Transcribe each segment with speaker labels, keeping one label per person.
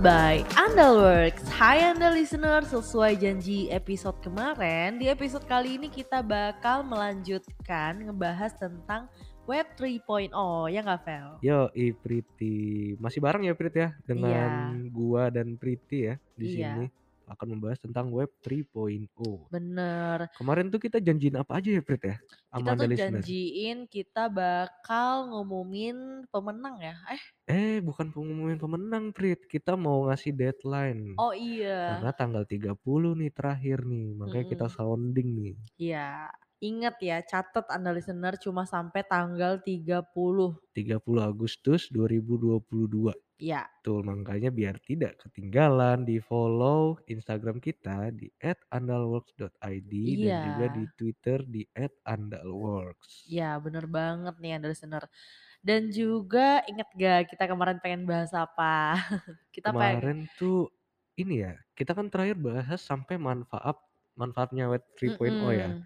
Speaker 1: by Andalworks. Hai Anda listener, sesuai janji episode kemarin, di episode kali ini kita bakal melanjutkan ngebahas tentang Web 3.0, ya nggak Vel?
Speaker 2: Yo, i Priti. Masih bareng ya Prit ya dengan gua dan Priti ya di
Speaker 1: Iya.
Speaker 2: sini akan membahas tentang web 3.0.
Speaker 1: Bener,
Speaker 2: Kemarin tuh kita janjiin apa aja ya Prit ya?
Speaker 1: kita
Speaker 2: Sama
Speaker 1: tuh
Speaker 2: Anda listener.
Speaker 1: janjiin kita bakal ngumumin pemenang ya. Eh,
Speaker 2: Eh, bukan pengumuman pemenang Prit. Kita mau ngasih deadline.
Speaker 1: oh iya,
Speaker 2: Karena tanggal 30 nih terakhir nih, makanya kita
Speaker 1: Mm-mm.
Speaker 2: sounding nih.
Speaker 1: iya. Ingat ya, catat Anda listener cuma sampai tanggal 30.
Speaker 2: 30 Agustus 2022.
Speaker 1: Ya,
Speaker 2: Betul, makanya biar tidak ketinggalan di follow Instagram kita di @andalworks.id dan juga
Speaker 1: Iya.
Speaker 2: di Twitter di @andalworks.
Speaker 1: ya bener banget nih Anda listener. Dan juga inget gak kita kemarin pengen bahas apa? kita pengen.
Speaker 2: Kemarin tuh ini ya, kita kan terakhir bahas sampai manfaat manfaatnya web 3.0 ya.
Speaker 1: Mm-mm,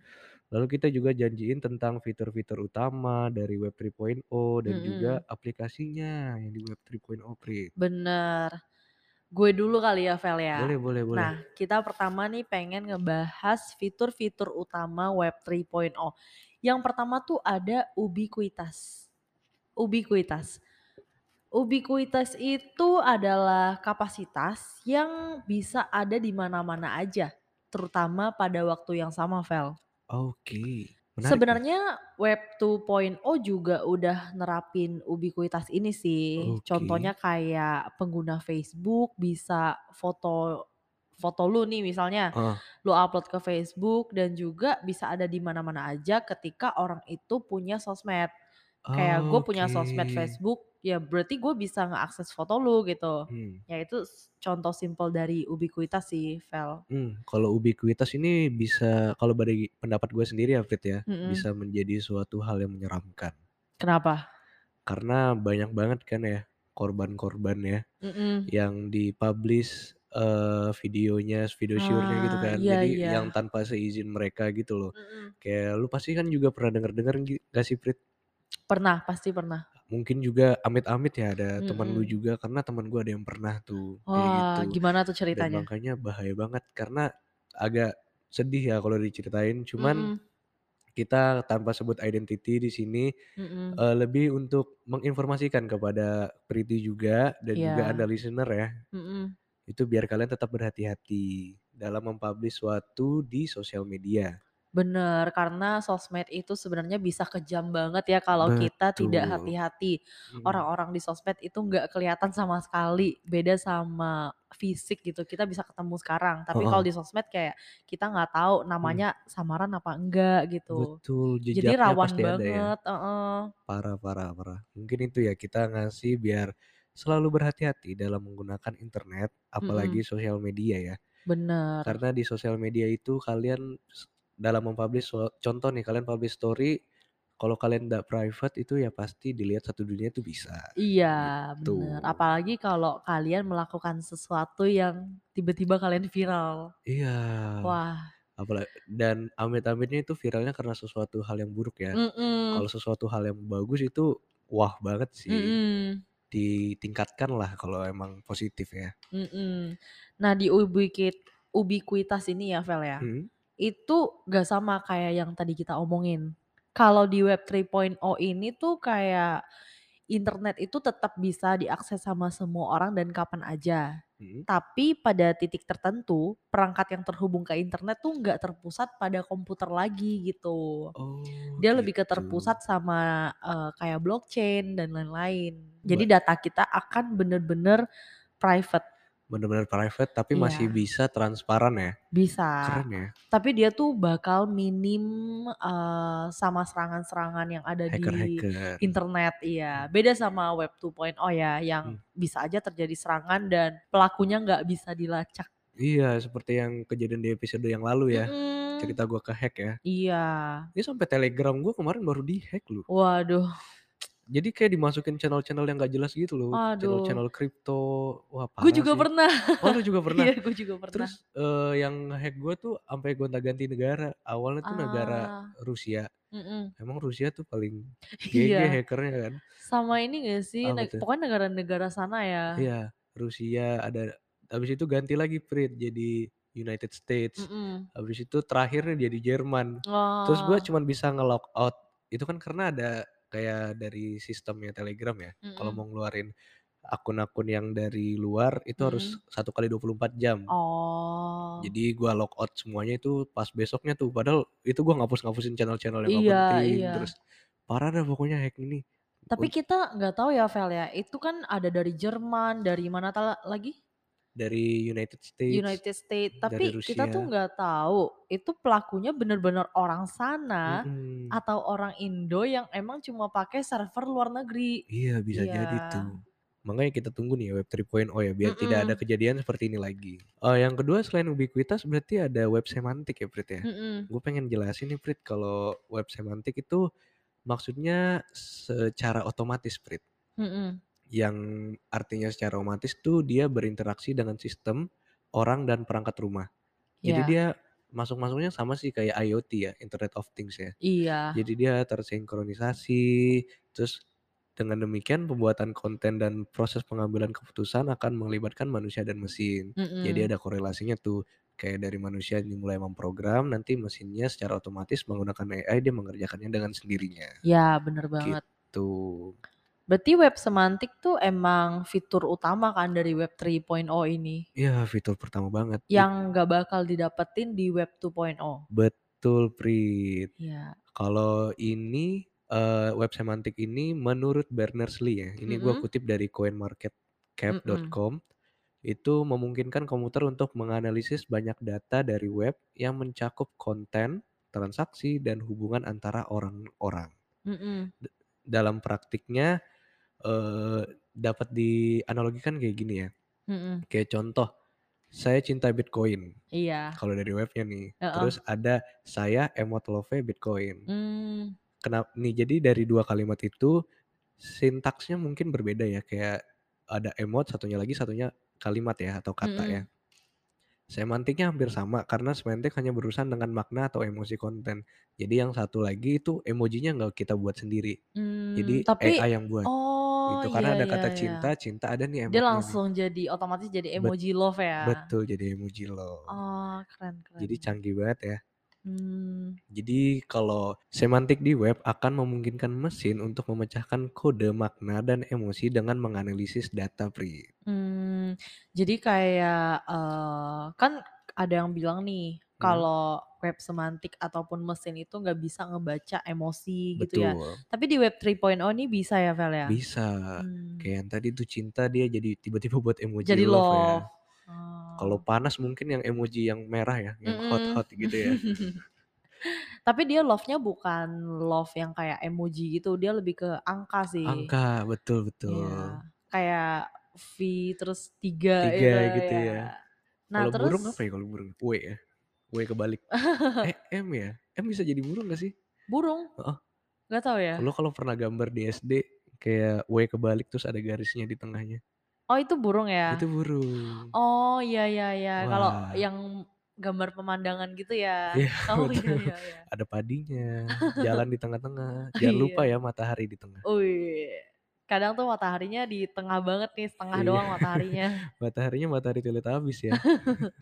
Speaker 2: Lalu kita juga janjiin tentang fitur-fitur utama dari web 3.0 dan juga
Speaker 1: mm-mm.
Speaker 2: aplikasinya yang di web oh, 3.0 Prit.
Speaker 1: Bener. Gue dulu kali ya, Vel ya.
Speaker 2: Boleh, boleh, boleh.
Speaker 1: Nah, kita pertama nih pengen ngebahas fitur-fitur utama Web 3.0. Yang pertama tuh ada ubiquitas. Ubiquitas. Ubiquitas itu adalah kapasitas yang bisa ada di mana-mana aja, terutama pada waktu yang sama, Vel.
Speaker 2: Oke, menarik nih.
Speaker 1: Sebenarnya Web 2.0 juga udah nerapin ubiquitas ini sih.
Speaker 2: Oke.
Speaker 1: Contohnya kayak pengguna Facebook bisa foto foto lu nih misalnya
Speaker 2: Ah,
Speaker 1: lu upload ke Facebook dan juga bisa ada di mana-mana aja ketika orang itu punya sosmed. Kayak gue punya
Speaker 2: oke.
Speaker 1: sosmed Facebook, ya berarti gue bisa ngeakses foto lu gitu.
Speaker 2: Hmm.
Speaker 1: Ya itu s- contoh simpel dari ubiquitas sih, Vel.
Speaker 2: Hmm, kalau ubiquitas ini bisa kalau dari pendapat gue sendiri ya Fit ya,
Speaker 1: Mm-mm.
Speaker 2: bisa menjadi suatu hal yang menyeramkan.
Speaker 1: Kenapa?
Speaker 2: Karena banyak banget kan ya korban-korban ya
Speaker 1: Hmm. Mm-mm.
Speaker 2: yang dipublish eh videonya, video syurnya gitu
Speaker 1: Ah,
Speaker 2: kan.
Speaker 1: iya
Speaker 2: Jadi
Speaker 1: iya.
Speaker 2: yang tanpa seizin mereka gitu loh.
Speaker 1: Mm-mm.
Speaker 2: Kayak lu pasti kan juga pernah denger-denger ngi- gak sih Fit?
Speaker 1: Pernah, pasti pernah.
Speaker 2: Mungkin juga amit-amit ya ada teman lu
Speaker 1: Mm-mm.
Speaker 2: juga karena teman gue ada yang pernah tuh
Speaker 1: Hmm.
Speaker 2: kayak
Speaker 1: Wah,
Speaker 2: gitu.
Speaker 1: gimana tuh
Speaker 2: dan
Speaker 1: ceritanya?
Speaker 2: makanya bahaya banget karena agak sedih ya kalau diceritain cuman
Speaker 1: Mm-mm,
Speaker 2: kita tanpa sebut identity di sini
Speaker 1: mm-mm.
Speaker 2: eh, lebih untuk menginformasikan kepada Priti juga dan juga
Speaker 1: Ya,
Speaker 2: anda listener ya
Speaker 1: mm-mm.
Speaker 2: itu biar kalian tetap berhati-hati dalam mempublish suatu di sosial media
Speaker 1: bener. Karena sosmed itu sebenarnya bisa kejam banget ya kalau kita tidak
Speaker 2: betul
Speaker 1: hati-hati.
Speaker 2: Mm.
Speaker 1: Orang-orang di sosmed itu nggak kelihatan sama sekali. Beda sama fisik gitu. Kita bisa ketemu sekarang. Tapi kalau di
Speaker 2: Heeh.
Speaker 1: sosmed kayak kita nggak tahu
Speaker 2: Mm.
Speaker 1: namanya samaran apa enggak gitu.
Speaker 2: betul
Speaker 1: Jadi
Speaker 2: jejaknya
Speaker 1: rawan
Speaker 2: pasti ada ya
Speaker 1: banget. Heeh.
Speaker 2: Parah, parah, parah. Mungkin itu ya kita ngasih biar selalu berhati-hati dalam menggunakan internet, apalagi
Speaker 1: Mm-mm,
Speaker 2: sosial media ya.
Speaker 1: Bener.
Speaker 2: Karena di sosial media itu kalian s- dalam mempublish, so- contoh nih kalian publish story, kalau kalian tidak private itu ya pasti dilihat satu dunia itu bisa
Speaker 1: Iya,
Speaker 2: gitu.
Speaker 1: bener. Apalagi kalau kalian melakukan sesuatu yang tiba-tiba kalian viral.
Speaker 2: Iya,
Speaker 1: Wah,
Speaker 2: apalagi dan amit-amitnya itu viralnya karena sesuatu hal yang buruk ya.
Speaker 1: mm-mm,
Speaker 2: Kalau sesuatu hal yang bagus itu wah banget sih.
Speaker 1: mm-mm,
Speaker 2: Ditingkatkan lah kalau emang positif ya.
Speaker 1: mm-mm. Nah di ubiquit, ubiquitas ini ya Vel ya,
Speaker 2: Hmm.
Speaker 1: itu gak sama kayak yang tadi kita omongin. Kalau di Web 3.0 ini tuh kayak internet itu tetap bisa diakses sama semua orang dan kapan aja.
Speaker 2: Hmm.
Speaker 1: Tapi pada titik tertentu, perangkat yang terhubung ke internet tuh nggak terpusat pada komputer lagi gitu.
Speaker 2: Oh
Speaker 1: Dia lebih ke
Speaker 2: gitu.
Speaker 1: terpusat sama eh, kayak blockchain dan lain-lain. Jadi
Speaker 2: Ba-
Speaker 1: data kita akan bener-bener private.
Speaker 2: Bener-bener private tapi
Speaker 1: Iya,
Speaker 2: masih bisa transparan ya.
Speaker 1: bisa.
Speaker 2: Keren ya.
Speaker 1: Tapi dia tuh bakal minim eh, sama serangan-serangan yang ada di
Speaker 2: Hacker-hacker.
Speaker 1: internet. Iya,
Speaker 2: Hmm,
Speaker 1: beda sama web 2.0 ya yang
Speaker 2: hmm.
Speaker 1: bisa aja terjadi serangan dan pelakunya nggak bisa dilacak.
Speaker 2: Iya seperti yang kejadian di episode yang lalu ya.
Speaker 1: Mm-mm.
Speaker 2: Cerita gua ke hack ya.
Speaker 1: Iya.
Speaker 2: Ini sampai telegram gua kemarin baru di hack loh.
Speaker 1: Waduh,
Speaker 2: Jadi kayak dimasukin channel-channel yang gak jelas gitu loh.
Speaker 1: aduh.
Speaker 2: Channel-channel kripto. Wah
Speaker 1: Gue
Speaker 2: parah
Speaker 1: juga
Speaker 2: sih.
Speaker 1: pernah.
Speaker 2: Oh lu juga pernah?
Speaker 1: Iya, gue juga pernah.
Speaker 2: Terus eh, yang hack gua tuh sampai gonta-ganti negara. Awalnya tuh negara
Speaker 1: Ah,
Speaker 2: Rusia.
Speaker 1: mm-mm.
Speaker 2: Emang Rusia tuh paling GG
Speaker 1: Iya.
Speaker 2: hackernya kan.
Speaker 1: Sama ini gak sih?
Speaker 2: Apa
Speaker 1: neg-
Speaker 2: tuh?
Speaker 1: pokoknya negara-negara sana ya.
Speaker 2: Iya, Rusia ada habis itu ganti lagi Prit jadi United States
Speaker 1: Mm-mm.
Speaker 2: habis itu terakhirnya jadi Jerman terus gue
Speaker 1: Oh,
Speaker 2: cuman bisa nge-lock out itu kan karena ada kayak dari sistemnya Telegram ya
Speaker 1: Oh,
Speaker 2: kalau
Speaker 1: mm-mm.
Speaker 2: mau ngeluarin akun-akun yang dari luar itu harus
Speaker 1: Hmm.
Speaker 2: satu kali 24 jam
Speaker 1: Oh.
Speaker 2: jadi gua lock out semuanya itu pas besoknya tuh padahal itu gua ngapus-ngapusin channel-channel yang gak
Speaker 1: Iya,
Speaker 2: penting
Speaker 1: iya.
Speaker 2: terus parah dah pokoknya hack ini
Speaker 1: Tapi
Speaker 2: Un-
Speaker 1: kita nggak tahu ya, Vel ya. Itu kan ada dari Jerman, dari mana tala- lagi?
Speaker 2: dari United States
Speaker 1: United States.
Speaker 2: dari
Speaker 1: Tapi kita tuh
Speaker 2: Rusia.
Speaker 1: nggak tahu itu pelakunya bener-bener orang sana
Speaker 2: Mm-mm.
Speaker 1: atau orang Indo yang emang cuma pakai server luar negeri.
Speaker 2: Iya bisa jadi
Speaker 1: Iya.
Speaker 2: tuh. Makanya kita tunggu nih ya web 3.0 ya biar tidak
Speaker 1: Mm-mm.
Speaker 2: ada kejadian seperti ini lagi. Eh yang kedua selain ubiquitas berarti ada web semantik ya Prit ya.
Speaker 1: Mm-mm.
Speaker 2: Gue pengen jelasin nih Prit kalau web semantik itu maksudnya secara otomatis Prit.
Speaker 1: Mm-mm.
Speaker 2: Yang artinya secara otomatis tuh dia berinteraksi dengan sistem orang dan perangkat rumah. Jadi
Speaker 1: Ya,
Speaker 2: dia masuk-masuknya sama sih kayak IoT ya, Internet of Things ya.
Speaker 1: iya.
Speaker 2: Jadi dia tersinkronisasi. Terus dengan demikian pembuatan konten dan proses pengambilan keputusan akan melibatkan manusia dan mesin. Jadi
Speaker 1: Mm-mm.
Speaker 2: ada korelasinya tuh kayak dari manusia dimulai memprogram, nanti mesinnya secara otomatis menggunakan AI dia mengerjakannya dengan sendirinya.
Speaker 1: Ya, bener banget.
Speaker 2: Gitu.
Speaker 1: Berarti web semantik tuh emang fitur utama kan dari web 3.0 ini
Speaker 2: Ya fitur pertama banget.
Speaker 1: yang nggak bakal didapetin di web oh? 2.0.
Speaker 2: Betul Prit.
Speaker 1: Ya.
Speaker 2: Kalau ini eh, web semantik ini menurut Berners-Lee ya. Ini gua
Speaker 1: Mm-mm.
Speaker 2: kutip dari
Speaker 1: Mm-mm.
Speaker 2: coinmarketcap.com itu memungkinkan komputer untuk menganalisis banyak data dari web yang mencakup konten, transaksi, dan hubungan antara orang-orang.
Speaker 1: Mm-mm.
Speaker 2: Dalam praktiknya eh, dapat dianalogikan kayak gini ya.
Speaker 1: Mm-mm.
Speaker 2: Kayak contoh, saya cinta Bitcoin.
Speaker 1: Iya.
Speaker 2: Kalau dari webnya nih.
Speaker 1: Heeh.
Speaker 2: Terus ada saya emot love Bitcoin.
Speaker 1: Mm.
Speaker 2: Kenapa nih? Jadi dari dua kalimat itu sintaksnya mungkin berbeda ya. Kayak ada emot, satunya lagi satunya kalimat ya atau kata ya.
Speaker 1: Mm-mm.
Speaker 2: Semantiknya hampir sama karena semantik hanya berurusan dengan makna atau emosi konten. Jadi yang satu lagi itu emojinya nggak kita buat sendiri. Jadi
Speaker 1: Mm, tapi
Speaker 2: AI yang buat
Speaker 1: oh
Speaker 2: gitu
Speaker 1: iya
Speaker 2: karena ada
Speaker 1: iya
Speaker 2: kata
Speaker 1: iya.
Speaker 2: cinta, cinta ada
Speaker 1: Dia
Speaker 2: nih emotnya nih.
Speaker 1: langsung jadi otomatis jadi
Speaker 2: Bet-
Speaker 1: emoji love ya.
Speaker 2: betul jadi emoji love.
Speaker 1: Oh, keren keren.
Speaker 2: Jadi canggih banget ya.
Speaker 1: Hmm.
Speaker 2: Jadi kalau semantik di web akan memungkinkan mesin untuk memecahkan kode makna dan emosi dengan menganalisis data pri.
Speaker 1: Hmm, jadi kayak eh, kan ada yang bilang nih
Speaker 2: Hmm,
Speaker 1: kalau web semantik ataupun mesin itu nggak bisa ngebaca emosi gitu ya.
Speaker 2: betul.
Speaker 1: Tapi di web 3.0 ini bisa ya Vel ya.
Speaker 2: Bisa.
Speaker 1: Hmm,
Speaker 2: Kayak yang tadi tuh cinta dia jadi tiba-tiba buat emoji
Speaker 1: jadi
Speaker 2: love ya.
Speaker 1: love.
Speaker 2: Kalau
Speaker 1: Oh.
Speaker 2: panas mungkin yang emoji yang merah ya, yang
Speaker 1: Mm-mm. Iya.
Speaker 2: hot-hot gitu ya.
Speaker 1: Tapi dia love-nya bukan love yang kayak emoji gitu, dia lebih ke angka sih.
Speaker 2: Angka betul-betul.
Speaker 1: Ya, kayak V terus tiga
Speaker 2: Tiga
Speaker 1: itu
Speaker 2: gitu
Speaker 1: ya.
Speaker 2: ya.
Speaker 1: Nah
Speaker 2: Kalau burung apa
Speaker 1: terus
Speaker 2: ya kalau burung? W ya. W kebalik. Eh M ya. M bisa jadi burung gak sih?
Speaker 1: burung,
Speaker 2: Heeh.
Speaker 1: nggak tahu ya.
Speaker 2: Lo kalau pernah gambar di SD kayak W kebalik terus ada garisnya di tengahnya.
Speaker 1: Oh itu burung
Speaker 2: Itu
Speaker 1: ya?
Speaker 2: burung.
Speaker 1: Oh iya iya iya. Kalau
Speaker 2: Wah.
Speaker 1: yang gambar pemandangan gitu ya.
Speaker 2: Iya
Speaker 1: Oh iya
Speaker 2: betul.
Speaker 1: iya iya.
Speaker 2: Ada padinya. Jalan di tengah-tengah. Jangan lupa
Speaker 1: Iya.
Speaker 2: ya matahari di tengah.
Speaker 1: Wih. Kadang tuh mataharinya di tengah banget nih, setengah
Speaker 2: Iya.
Speaker 1: doang mataharinya.
Speaker 2: Mataharinya matahari Teletubbies ya.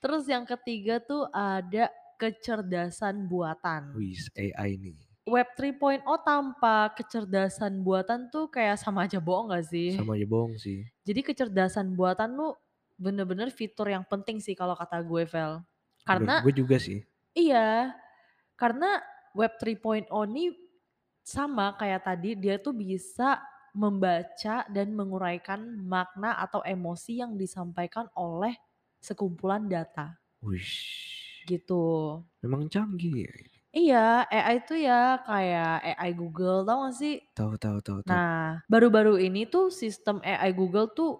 Speaker 1: Terus yang ketiga tuh ada kecerdasan buatan.
Speaker 2: Wis AI nih.
Speaker 1: Web 3.0 tanpa kecerdasan buatan tuh kayak sama aja bohong gak sih?
Speaker 2: Sama aja bohong sih.
Speaker 1: Jadi kecerdasan buatan lu bener-bener fitur yang penting sih kalau kata gue, Vel. Karena
Speaker 2: Gue juga sih.
Speaker 1: iya, karena web 3.0 ini sama kayak tadi dia tuh bisa membaca dan menguraikan makna atau emosi yang disampaikan oleh sekumpulan data
Speaker 2: Wih.
Speaker 1: gitu.
Speaker 2: Memang canggih ya.
Speaker 1: Iya, AI itu ya kayak AI Google tau gak sih?
Speaker 2: Tahu tahu tahu tahu.
Speaker 1: Nah, baru-baru ini tuh sistem AI Google tuh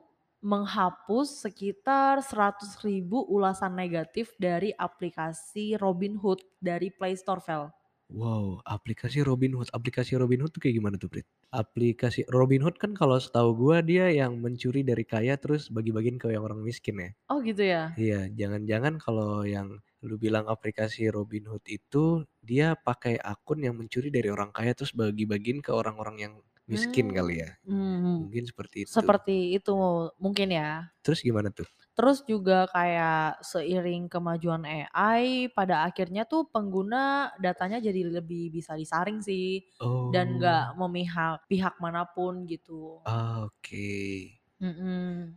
Speaker 1: menghapus sekitar 100.000 ribu ulasan negatif dari aplikasi Robinhood dari Play Store, Vel.
Speaker 2: Wow, aplikasi Robinhood. Aplikasi Robinhood tuh kayak gimana tuh, Brit? Aplikasi Robinhood kan kalau setahu gua dia yang mencuri dari kaya terus bagi-bagiin ke yang orang miskin ya.
Speaker 1: Oh gitu ya?
Speaker 2: Iya, jangan-jangan kalau yang lu bilang aplikasi Robinhood itu dia pakai akun yang mencuri dari orang kaya terus bagi-bagiin ke orang-orang yang miskin
Speaker 1: Hmm.
Speaker 2: kali ya.
Speaker 1: Hmm,
Speaker 2: Mungkin seperti itu.
Speaker 1: seperti itu mungkin ya.
Speaker 2: Terus gimana tuh?
Speaker 1: Terus juga kayak seiring kemajuan AI, pada akhirnya tuh pengguna datanya jadi lebih bisa disaring sih
Speaker 2: Oh.
Speaker 1: dan nggak memihak pihak manapun gitu. Hmm,
Speaker 2: Ah, Oke.
Speaker 1: Mm-mm.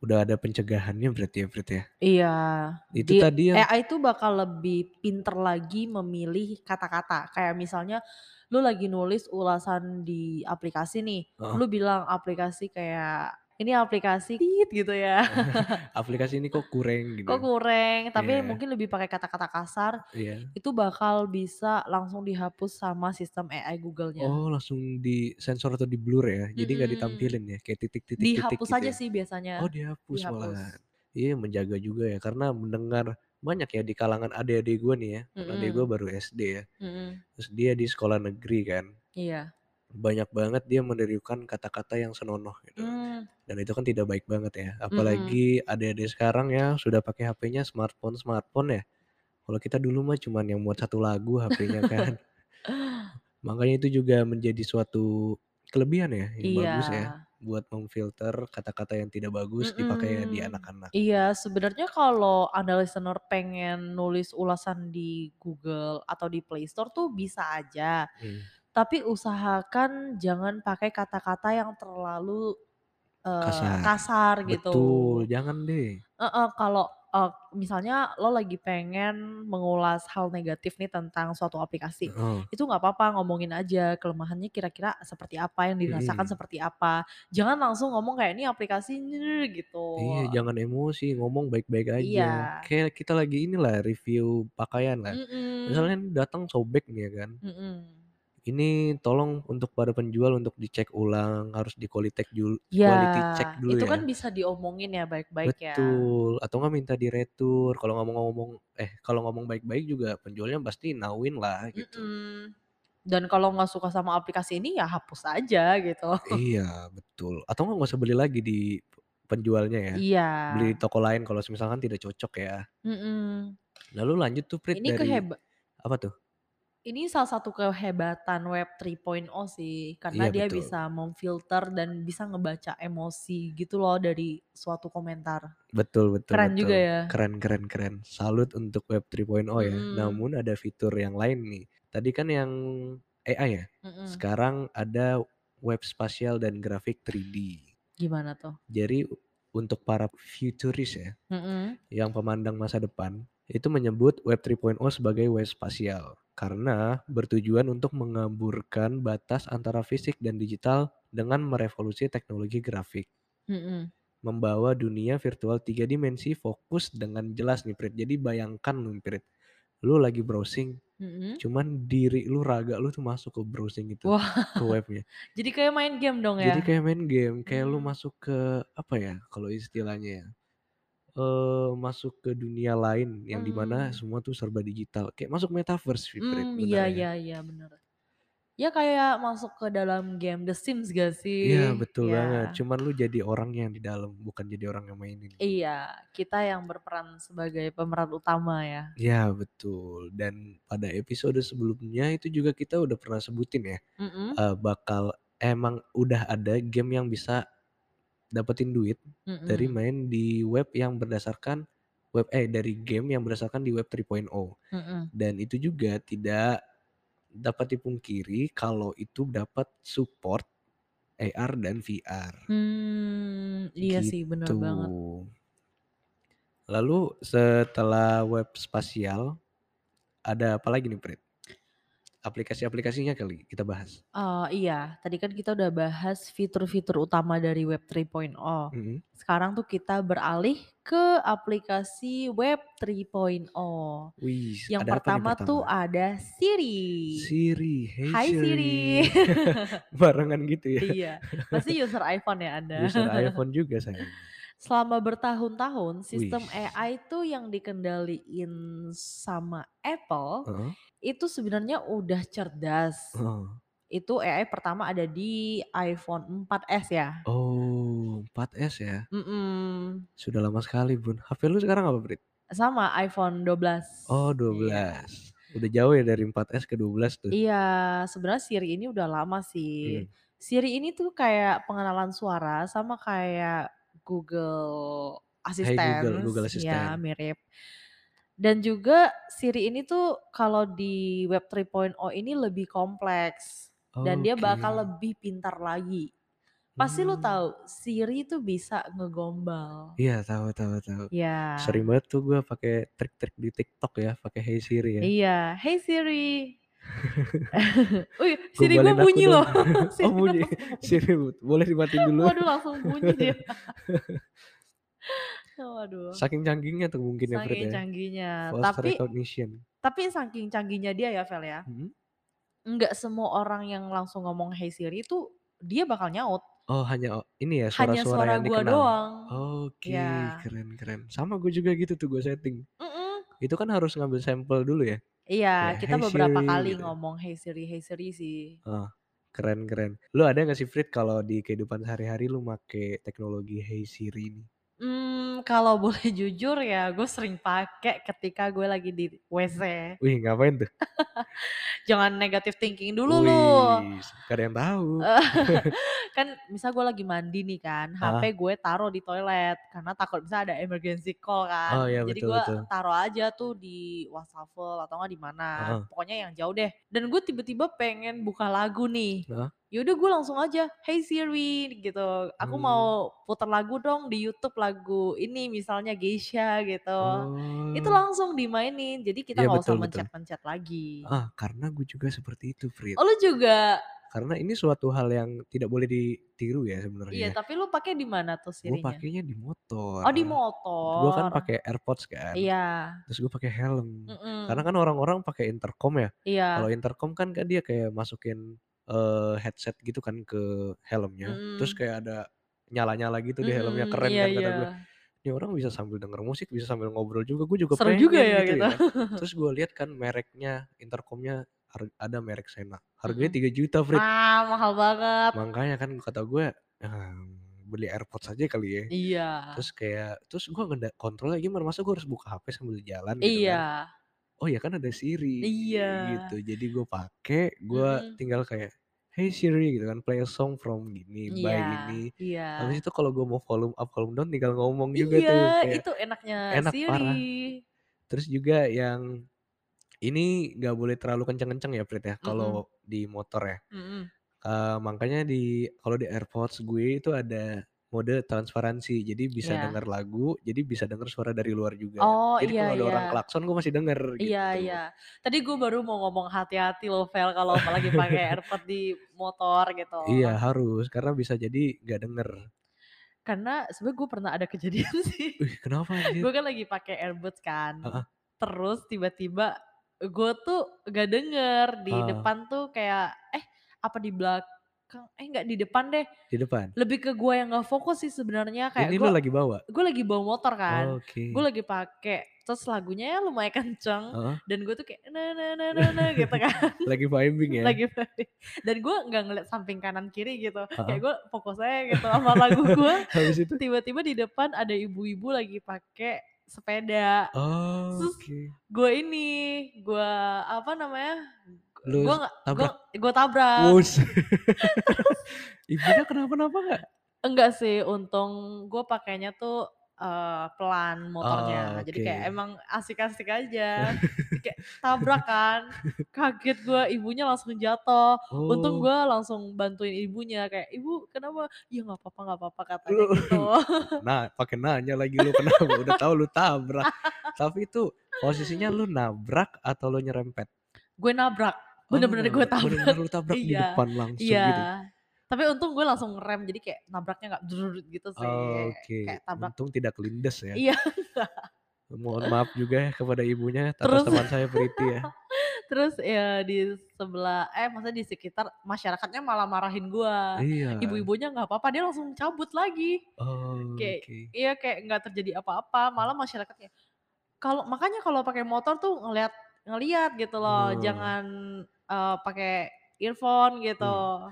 Speaker 2: Udah ada pencegahannya berarti ya, Prit ya.
Speaker 1: Iya.
Speaker 2: Itu
Speaker 1: Di-
Speaker 2: tadi yang
Speaker 1: AI itu bakal lebih pinter lagi memilih kata-kata. Kayak misalnya lu lagi nulis ulasan di aplikasi nih,
Speaker 2: Heeh.
Speaker 1: lu bilang aplikasi kayak ini aplikasi tit gitu ya.
Speaker 2: aplikasi ini kok kurang gitu.
Speaker 1: Kok kurang, tapi
Speaker 2: Iya.
Speaker 1: mungkin lebih pakai kata-kata kasar,
Speaker 2: Iya.
Speaker 1: itu bakal bisa langsung dihapus sama sistem AI Google-nya.
Speaker 2: Oh, langsung di sensor atau di blur ya. Jadi nggak
Speaker 1: Iya. Mm-mm.
Speaker 2: ditampilin ya kayak titik-titik-titik
Speaker 1: Dihapus
Speaker 2: gitu.
Speaker 1: aja
Speaker 2: ya.
Speaker 1: sih biasanya.
Speaker 2: Oh, dihapus
Speaker 1: Dihapus.
Speaker 2: malahan. Iya, menjaga juga ya karena mendengar banyak ya di kalangan adik-adik gue nih ya. Karena adik gue
Speaker 1: Mm-mm.
Speaker 2: baru SD ya.
Speaker 1: Mm-mm.
Speaker 2: Terus dia di sekolah negeri kan.
Speaker 1: Iya.
Speaker 2: Banyak banget dia menirukan kata-kata yang senonoh gitu.
Speaker 1: Mm.
Speaker 2: dan itu kan tidak baik banget ya
Speaker 1: Mm-mm.
Speaker 2: apalagi adik-adik sekarang ya sudah pakai HP-nya smartphone smartphone ya kalau kita dulu mah cuman yang muat satu lagu HP-nya kan makanya itu juga menjadi suatu kelebihan ya yang bagus ya
Speaker 1: Iya.
Speaker 2: buat memfilter kata-kata yang tidak bagus dipakai di
Speaker 1: Mm-mm.
Speaker 2: anak-anak
Speaker 1: Iya, sebenarnya kalau Anda listener pengen nulis ulasan di Google atau di Play Store tuh bisa aja.
Speaker 2: Hmm.
Speaker 1: Tapi usahakan jangan pakai kata-kata yang terlalu eh,
Speaker 2: kasar
Speaker 1: kasar gitu.
Speaker 2: betul jangan deh
Speaker 1: Eh, kalau eh, misalnya lo lagi pengen mengulas hal negatif nih tentang suatu aplikasi,
Speaker 2: Heeh.
Speaker 1: itu nggak apa-apa ngomongin aja kelemahannya kira-kira seperti apa yang dirasakan
Speaker 2: Mm-mm.
Speaker 1: seperti apa. Jangan langsung ngomong kayak ini aplikasi nyir,"
Speaker 2: Iya,
Speaker 1: gitu.
Speaker 2: jangan emosi, ngomong baik-baik aja.
Speaker 1: Iya.
Speaker 2: Kayak kita lagi inilah review pakaian lah. Misalnya
Speaker 1: Mm-mm.
Speaker 2: ini datang sobek nih ya kan.
Speaker 1: Mm-mm.
Speaker 2: ini tolong untuk para penjual untuk dicek ulang harus di quality check dulu
Speaker 1: Ya,
Speaker 2: quality check dulu
Speaker 1: itu kan
Speaker 2: ya
Speaker 1: bisa diomongin ya baik-baik ya.
Speaker 2: betul atau nggak minta diretur kalau ngomong-ngomong eh kalau ngomong baik-baik juga penjualnya pasti nawin lah gitu
Speaker 1: Mm-mm. Dan kalau nggak suka sama aplikasi ini ya hapus aja gitu.
Speaker 2: iya betul atau nggak nggak usah beli lagi di penjualnya ya
Speaker 1: Iya.
Speaker 2: beli di toko lain kalau misalkan tidak cocok ya
Speaker 1: Mm-mm.
Speaker 2: lalu lanjut tuh Prit
Speaker 1: Ini
Speaker 2: dari
Speaker 1: keheba
Speaker 2: apa tuh
Speaker 1: ini salah satu kehebatan web 3.0 sih karena
Speaker 2: iya
Speaker 1: dia
Speaker 2: betul
Speaker 1: bisa memfilter dan bisa ngebaca emosi gitu loh dari suatu komentar.
Speaker 2: Betul, betul,
Speaker 1: Keren juga
Speaker 2: betul.
Speaker 1: ya.
Speaker 2: Keren, keren, keren. Salut untuk Web 3.0 ya.
Speaker 1: Mm-mm.
Speaker 2: Namun ada fitur yang lain nih. Tadi kan yang AI ya.
Speaker 1: Mm-mm.
Speaker 2: Sekarang ada web spasial dan grafik 3D.
Speaker 1: Gimana tuh?
Speaker 2: Jadi u- untuk para futuris ya,
Speaker 1: Mm-mm.
Speaker 2: yang pemandang masa depan, itu menyebut Web 3.0 sebagai web spasial. Karena bertujuan untuk mengaburkan batas antara fisik dan digital dengan merevolusi teknologi grafik
Speaker 1: Mm-mm.
Speaker 2: membawa dunia virtual tiga dimensi fokus dengan jelas nih Prit. Jadi bayangkan lu Prit, lu lagi browsing,
Speaker 1: Hmm. Mm-mm.
Speaker 2: cuman diri lu raga lu tuh masuk ke browsing itu,
Speaker 1: Wah,
Speaker 2: ke webnya.
Speaker 1: jadi kayak main game dong ya.
Speaker 2: Jadi kayak main game, kayak lu
Speaker 1: Hmm.
Speaker 2: masuk ke apa ya kalau istilahnya ya, eh masuk ke dunia lain yang dimana
Speaker 1: Hmm.
Speaker 2: semua tuh serba digital. Kayak masuk metaverse ya? Prit
Speaker 1: Hmm, iya
Speaker 2: benarnya.
Speaker 1: iya iya benar. Ya kayak masuk ke dalam game The Sims gak
Speaker 2: Iya
Speaker 1: sih?
Speaker 2: betul
Speaker 1: Ya.
Speaker 2: banget, cuman lu jadi orang yang di dalam, bukan jadi orang yang mainin.
Speaker 1: Iya, kita yang berperan sebagai pemeran utama ya.
Speaker 2: Ya betul. Dan pada episode sebelumnya itu juga kita udah pernah sebutin ya
Speaker 1: Mm-mm.
Speaker 2: eh, bakal emang udah ada game yang bisa dapetin duit dari
Speaker 1: Mm-mm.
Speaker 2: main di web yang berdasarkan web eh dari game yang berdasarkan di web oh. 3.0
Speaker 1: Mm-mm.
Speaker 2: dan itu juga tidak dapat dipungkiri kalau itu dapat support AR dan VR
Speaker 1: Hmm, iya sih bener
Speaker 2: gitu.
Speaker 1: banget.
Speaker 2: Lalu setelah web spasial ada apa lagi nih Prit? Aplikasi-aplikasinya kali kita bahas.
Speaker 1: Eh, iya, tadi kan kita udah bahas fitur-fitur utama dari Web 3.0.
Speaker 2: Mm-mm.
Speaker 1: Sekarang tuh kita beralih ke aplikasi Web 3.0.
Speaker 2: Wih,
Speaker 1: Yang
Speaker 2: ada apa nih
Speaker 1: pertama
Speaker 2: pertama?
Speaker 1: tuh ada Siri.
Speaker 2: Siri, hey
Speaker 1: Hai
Speaker 2: Siri.
Speaker 1: Siri.
Speaker 2: Barengan gitu ya.
Speaker 1: Iya, pasti user iPhone ya Anda.
Speaker 2: User iPhone juga sayangnya.
Speaker 1: Selama bertahun-tahun,
Speaker 2: Wih.
Speaker 1: sistem AI tuh yang dikendaliin sama Apple
Speaker 2: Heeh.
Speaker 1: itu sebenarnya udah cerdas.
Speaker 2: heeh.
Speaker 1: Itu AI pertama ada di iPhone 4S ya.
Speaker 2: Oh, 4S ya.
Speaker 1: Mm-mm.
Speaker 2: Sudah lama sekali, Bun. HP lu sekarang apa, Brit?
Speaker 1: Sama iPhone 12.
Speaker 2: Oh,
Speaker 1: Iya.
Speaker 2: 12. Udah jauh ya dari 4S ke 12 tuh.
Speaker 1: Iya, sebenarnya Siri ini udah lama sih.
Speaker 2: Mm.
Speaker 1: Siri ini tuh kayak pengenalan suara sama kayak Google Assistant. Ya,
Speaker 2: Google Assistant.
Speaker 1: mirip. Dan juga Siri ini tuh kalau di Web 3.0 ini lebih kompleks dan dia
Speaker 2: Hmm. Oke.
Speaker 1: bakal lebih pintar lagi. Pasti lu
Speaker 2: Hmm.
Speaker 1: tahu Siri tuh bisa ngegombal.
Speaker 2: Iya tahu tahu tahu.
Speaker 1: Ya.
Speaker 2: Sering banget tuh gue pakai trik-trik di TikTok ya, pakai Hey Siri ya.
Speaker 1: Iya, hey Siri. Uy, Siri gue
Speaker 2: Gombalin aku
Speaker 1: bunyi
Speaker 2: dong.
Speaker 1: loh. Siri
Speaker 2: Oh bunyi.
Speaker 1: langsung bunyi.
Speaker 2: Siri bu- boleh dimatiin dulu.
Speaker 1: Waduh langsung bunyi dia. Waduh.
Speaker 2: Saking canggihnya tuh mungkin ya Fred
Speaker 1: Saking
Speaker 2: ya.
Speaker 1: canggihnya.
Speaker 2: Voice
Speaker 1: Tapi
Speaker 2: recognition.
Speaker 1: tapi saking canggihnya dia ya Vel ya.
Speaker 2: Hmm?
Speaker 1: Enggak semua orang yang langsung ngomong hey Siri itu dia bakal nyaut.
Speaker 2: Oh hanya o- ini ya
Speaker 1: Hanya
Speaker 2: suara-suara
Speaker 1: suara
Speaker 2: yang
Speaker 1: gua
Speaker 2: dikenal.
Speaker 1: doang.
Speaker 2: Oke,
Speaker 1: Ya.
Speaker 2: keren keren. Sama gue juga gitu tuh gue setting.
Speaker 1: Mm-mm.
Speaker 2: Itu kan harus ngambil sampel dulu ya.
Speaker 1: Iya,
Speaker 2: Kayak,
Speaker 1: kita
Speaker 2: "Hey
Speaker 1: beberapa
Speaker 2: Siri,"
Speaker 1: kali
Speaker 2: gitu.
Speaker 1: ngomong hey Siri, hey Siri sih.
Speaker 2: Oh, keren keren. Lu ada gak sih Frit kalau di kehidupan sehari-hari lu make teknologi Hey Siri ini?
Speaker 1: Hmm, kalau boleh jujur ya, gue sering pakai ketika gue lagi di WC.
Speaker 2: Wih ngapain tuh?
Speaker 1: Jangan negative thinking dulu
Speaker 2: Wih,
Speaker 1: lu.
Speaker 2: gak ada yang tahu.
Speaker 1: kan misal gue lagi mandi nih kan,
Speaker 2: Ah.
Speaker 1: HP gue taruh di toilet karena takut bisa ada emergency call kan.
Speaker 2: Oh iya
Speaker 1: Jadi
Speaker 2: betul
Speaker 1: gue
Speaker 2: betul.
Speaker 1: taruh aja tuh di wastafel atau nggak di mana,
Speaker 2: Heeh.
Speaker 1: pokoknya yang jauh deh. Dan gue tiba-tiba pengen buka lagu nih.
Speaker 2: Heeh.
Speaker 1: Yaudah gue langsung aja, hey Siri gitu. Aku
Speaker 2: Hmm.
Speaker 1: mau puter lagu dong di YouTube lagu ini misalnya Geisha gitu. Itu
Speaker 2: Oh.
Speaker 1: langsung dimainin. Jadi kita
Speaker 2: Iya
Speaker 1: nggak usah
Speaker 2: betul betul.
Speaker 1: mencet-mencet lagi.
Speaker 2: Ah, karena gue juga seperti itu, Frit.
Speaker 1: Oh lu juga,
Speaker 2: Karena ini suatu hal yang tidak boleh ditiru ya sebenarnya
Speaker 1: iya
Speaker 2: ya.
Speaker 1: tapi
Speaker 2: tapi
Speaker 1: lu pakai di mana tuh
Speaker 2: Gue
Speaker 1: Sirinya?
Speaker 2: pakainya di motor.
Speaker 1: Oh di
Speaker 2: Gue kan
Speaker 1: motor.
Speaker 2: pakai AirPods kan.
Speaker 1: Iya.
Speaker 2: Terus gue pakai helm.
Speaker 1: Mm-mm.
Speaker 2: Karena kan orang-orang pakai intercom ya. Kalau
Speaker 1: Iya.
Speaker 2: intercom kan kan dia kayak masukin eh, headset gitu kan ke helmnya.
Speaker 1: Mm-mm.
Speaker 2: Terus kayak ada nyala-nyala gitu di helmnya
Speaker 1: Mm-mm.
Speaker 2: keren
Speaker 1: Iya
Speaker 2: kan kata
Speaker 1: iya.
Speaker 2: gue. Ini orang bisa sambil denger musik, bisa sambil ngobrol juga. Gue juga
Speaker 1: Seru juga
Speaker 2: pengen
Speaker 1: ya
Speaker 2: gitu
Speaker 1: gitu.
Speaker 2: ya. Terus gue lihat kan mereknya intercomnya har- ada merek Sena. Harganya
Speaker 1: Mm-mm.
Speaker 2: 3 juta, Frit.
Speaker 1: Ah mahal banget.
Speaker 2: Makanya kan kata gue "Ah, beli AirPods aja kali ya.
Speaker 1: Iya.
Speaker 2: Terus kayak terus gue nggak kontrolnya gimana masa gue harus buka HP sambil jalan gitu kan.
Speaker 1: Iya.
Speaker 2: Oh ya kan ada Siri
Speaker 1: Iya.
Speaker 2: gitu. Jadi gue pakai, gue
Speaker 1: Mm-mm.
Speaker 2: tinggal kayak Hey Siri gitu kan, play a song from gini, by
Speaker 1: Iya.
Speaker 2: ini.
Speaker 1: Iya.
Speaker 2: Habis itu kalau gue mau volume up, volume down tinggal ngomong juga
Speaker 1: Iya,
Speaker 2: tuh kayak
Speaker 1: itu enaknya
Speaker 2: enak
Speaker 1: Siri.
Speaker 2: parah. Terus juga yang ini nggak boleh terlalu kenceng-kenceng ya Prit ya
Speaker 1: Mm-mm.
Speaker 2: kalau di motor ya.
Speaker 1: Mm-mm.
Speaker 2: Eh, makanya di kalau di AirPods gue itu ada mode transparansi. Jadi bisa
Speaker 1: Iya.
Speaker 2: denger lagu, jadi bisa denger suara dari luar juga.
Speaker 1: Oh
Speaker 2: Jadi
Speaker 1: iya
Speaker 2: kalau ada
Speaker 1: iya.
Speaker 2: orang gitu klakson gue masih denger
Speaker 1: Iya
Speaker 2: gitu.
Speaker 1: iya. Tadi gue baru mau ngomong hati-hati loh Vel kalau lagi pakai AirPod di motor gitu.
Speaker 2: Iya harus karena bisa jadi nggak denger.
Speaker 1: Karena sebenernya gue pernah ada kejadian sih.
Speaker 2: Wih kenapa anjir?
Speaker 1: gue kan lagi pakai earbuds kan
Speaker 2: Iya. Heeh.
Speaker 1: terus tiba-tiba gue tuh gak denger di
Speaker 2: Ah,
Speaker 1: depan tuh kayak eh apa di belakang eh nggak di depan deh
Speaker 2: di depan.
Speaker 1: lebih ke gue yang gak fokus sih sebenarnya kayak
Speaker 2: Ini
Speaker 1: gue
Speaker 2: lu lagi Oh, iya. bawa.
Speaker 1: gue lagi bawa motor kan
Speaker 2: Oke.
Speaker 1: gue lagi pakai terus lagunya ya lumayan kenceng
Speaker 2: Heeh.
Speaker 1: dan gue tuh kayak na na na na na gitu kan
Speaker 2: lagi vibing ya.
Speaker 1: lagi play. dan gue nggak ngeliat samping kanan kiri gitu kayak
Speaker 2: Heeh.
Speaker 1: gue fokus aja gitu sama lagu gue
Speaker 2: Habis itu.
Speaker 1: tiba-tiba di depan ada ibu-ibu lagi pakai sepeda terus
Speaker 2: Oke.
Speaker 1: gue ini gue apa namanya
Speaker 2: Lu
Speaker 1: gue nggak gue
Speaker 2: tabrak.
Speaker 1: gue tabrak
Speaker 2: Wus. Ibunya kenapa-napa nggak?
Speaker 1: enggak sih untung gue pakainya tuh eh, pelan
Speaker 2: Ah,
Speaker 1: motornya jadi kayak
Speaker 2: oke.
Speaker 1: emang asik-asik aja kayak tabrak kan kaget gue ibunya langsung jatuh untung
Speaker 2: Oh.
Speaker 1: gue langsung bantuin ibunya kayak ibu kenapa ya nggak apa-apa nggak apa-apa katanya
Speaker 2: Oh, lu
Speaker 1: gitu
Speaker 2: nah pakai nanya lagi lu kenapa udah tahu lu tabrak tapi itu posisinya lu nabrak atau lu nyerempet
Speaker 1: gue nabrak
Speaker 2: oh lu
Speaker 1: bener-bener gue
Speaker 2: nabrak bener-bener
Speaker 1: tabrak
Speaker 2: lu tabrak di
Speaker 1: iya
Speaker 2: depan langsung
Speaker 1: iya
Speaker 2: gitu
Speaker 1: tapi untung gue langsung ngerem jadi kayak nabraknya nggak drrrr gitu sih
Speaker 2: oke
Speaker 1: kayak tabrak
Speaker 2: untung tidak lindes ya
Speaker 1: iya
Speaker 2: mohon maaf juga ya kepada ibunya atas
Speaker 1: terus
Speaker 2: teman saya Priti ya
Speaker 1: terus ya di sebelah eh maksudnya di sekitar masyarakatnya malah marahin gue
Speaker 2: iya
Speaker 1: ibu-ibunya nggak apa-apa dia langsung cabut lagi kayak
Speaker 2: oke
Speaker 1: iya kayak nggak terjadi apa-apa malah masyarakatnya kalau makanya kalau pakai motor tuh ngeliat ngeliat gitu loh
Speaker 2: oh.
Speaker 1: jangan eh, pakai earphone gitu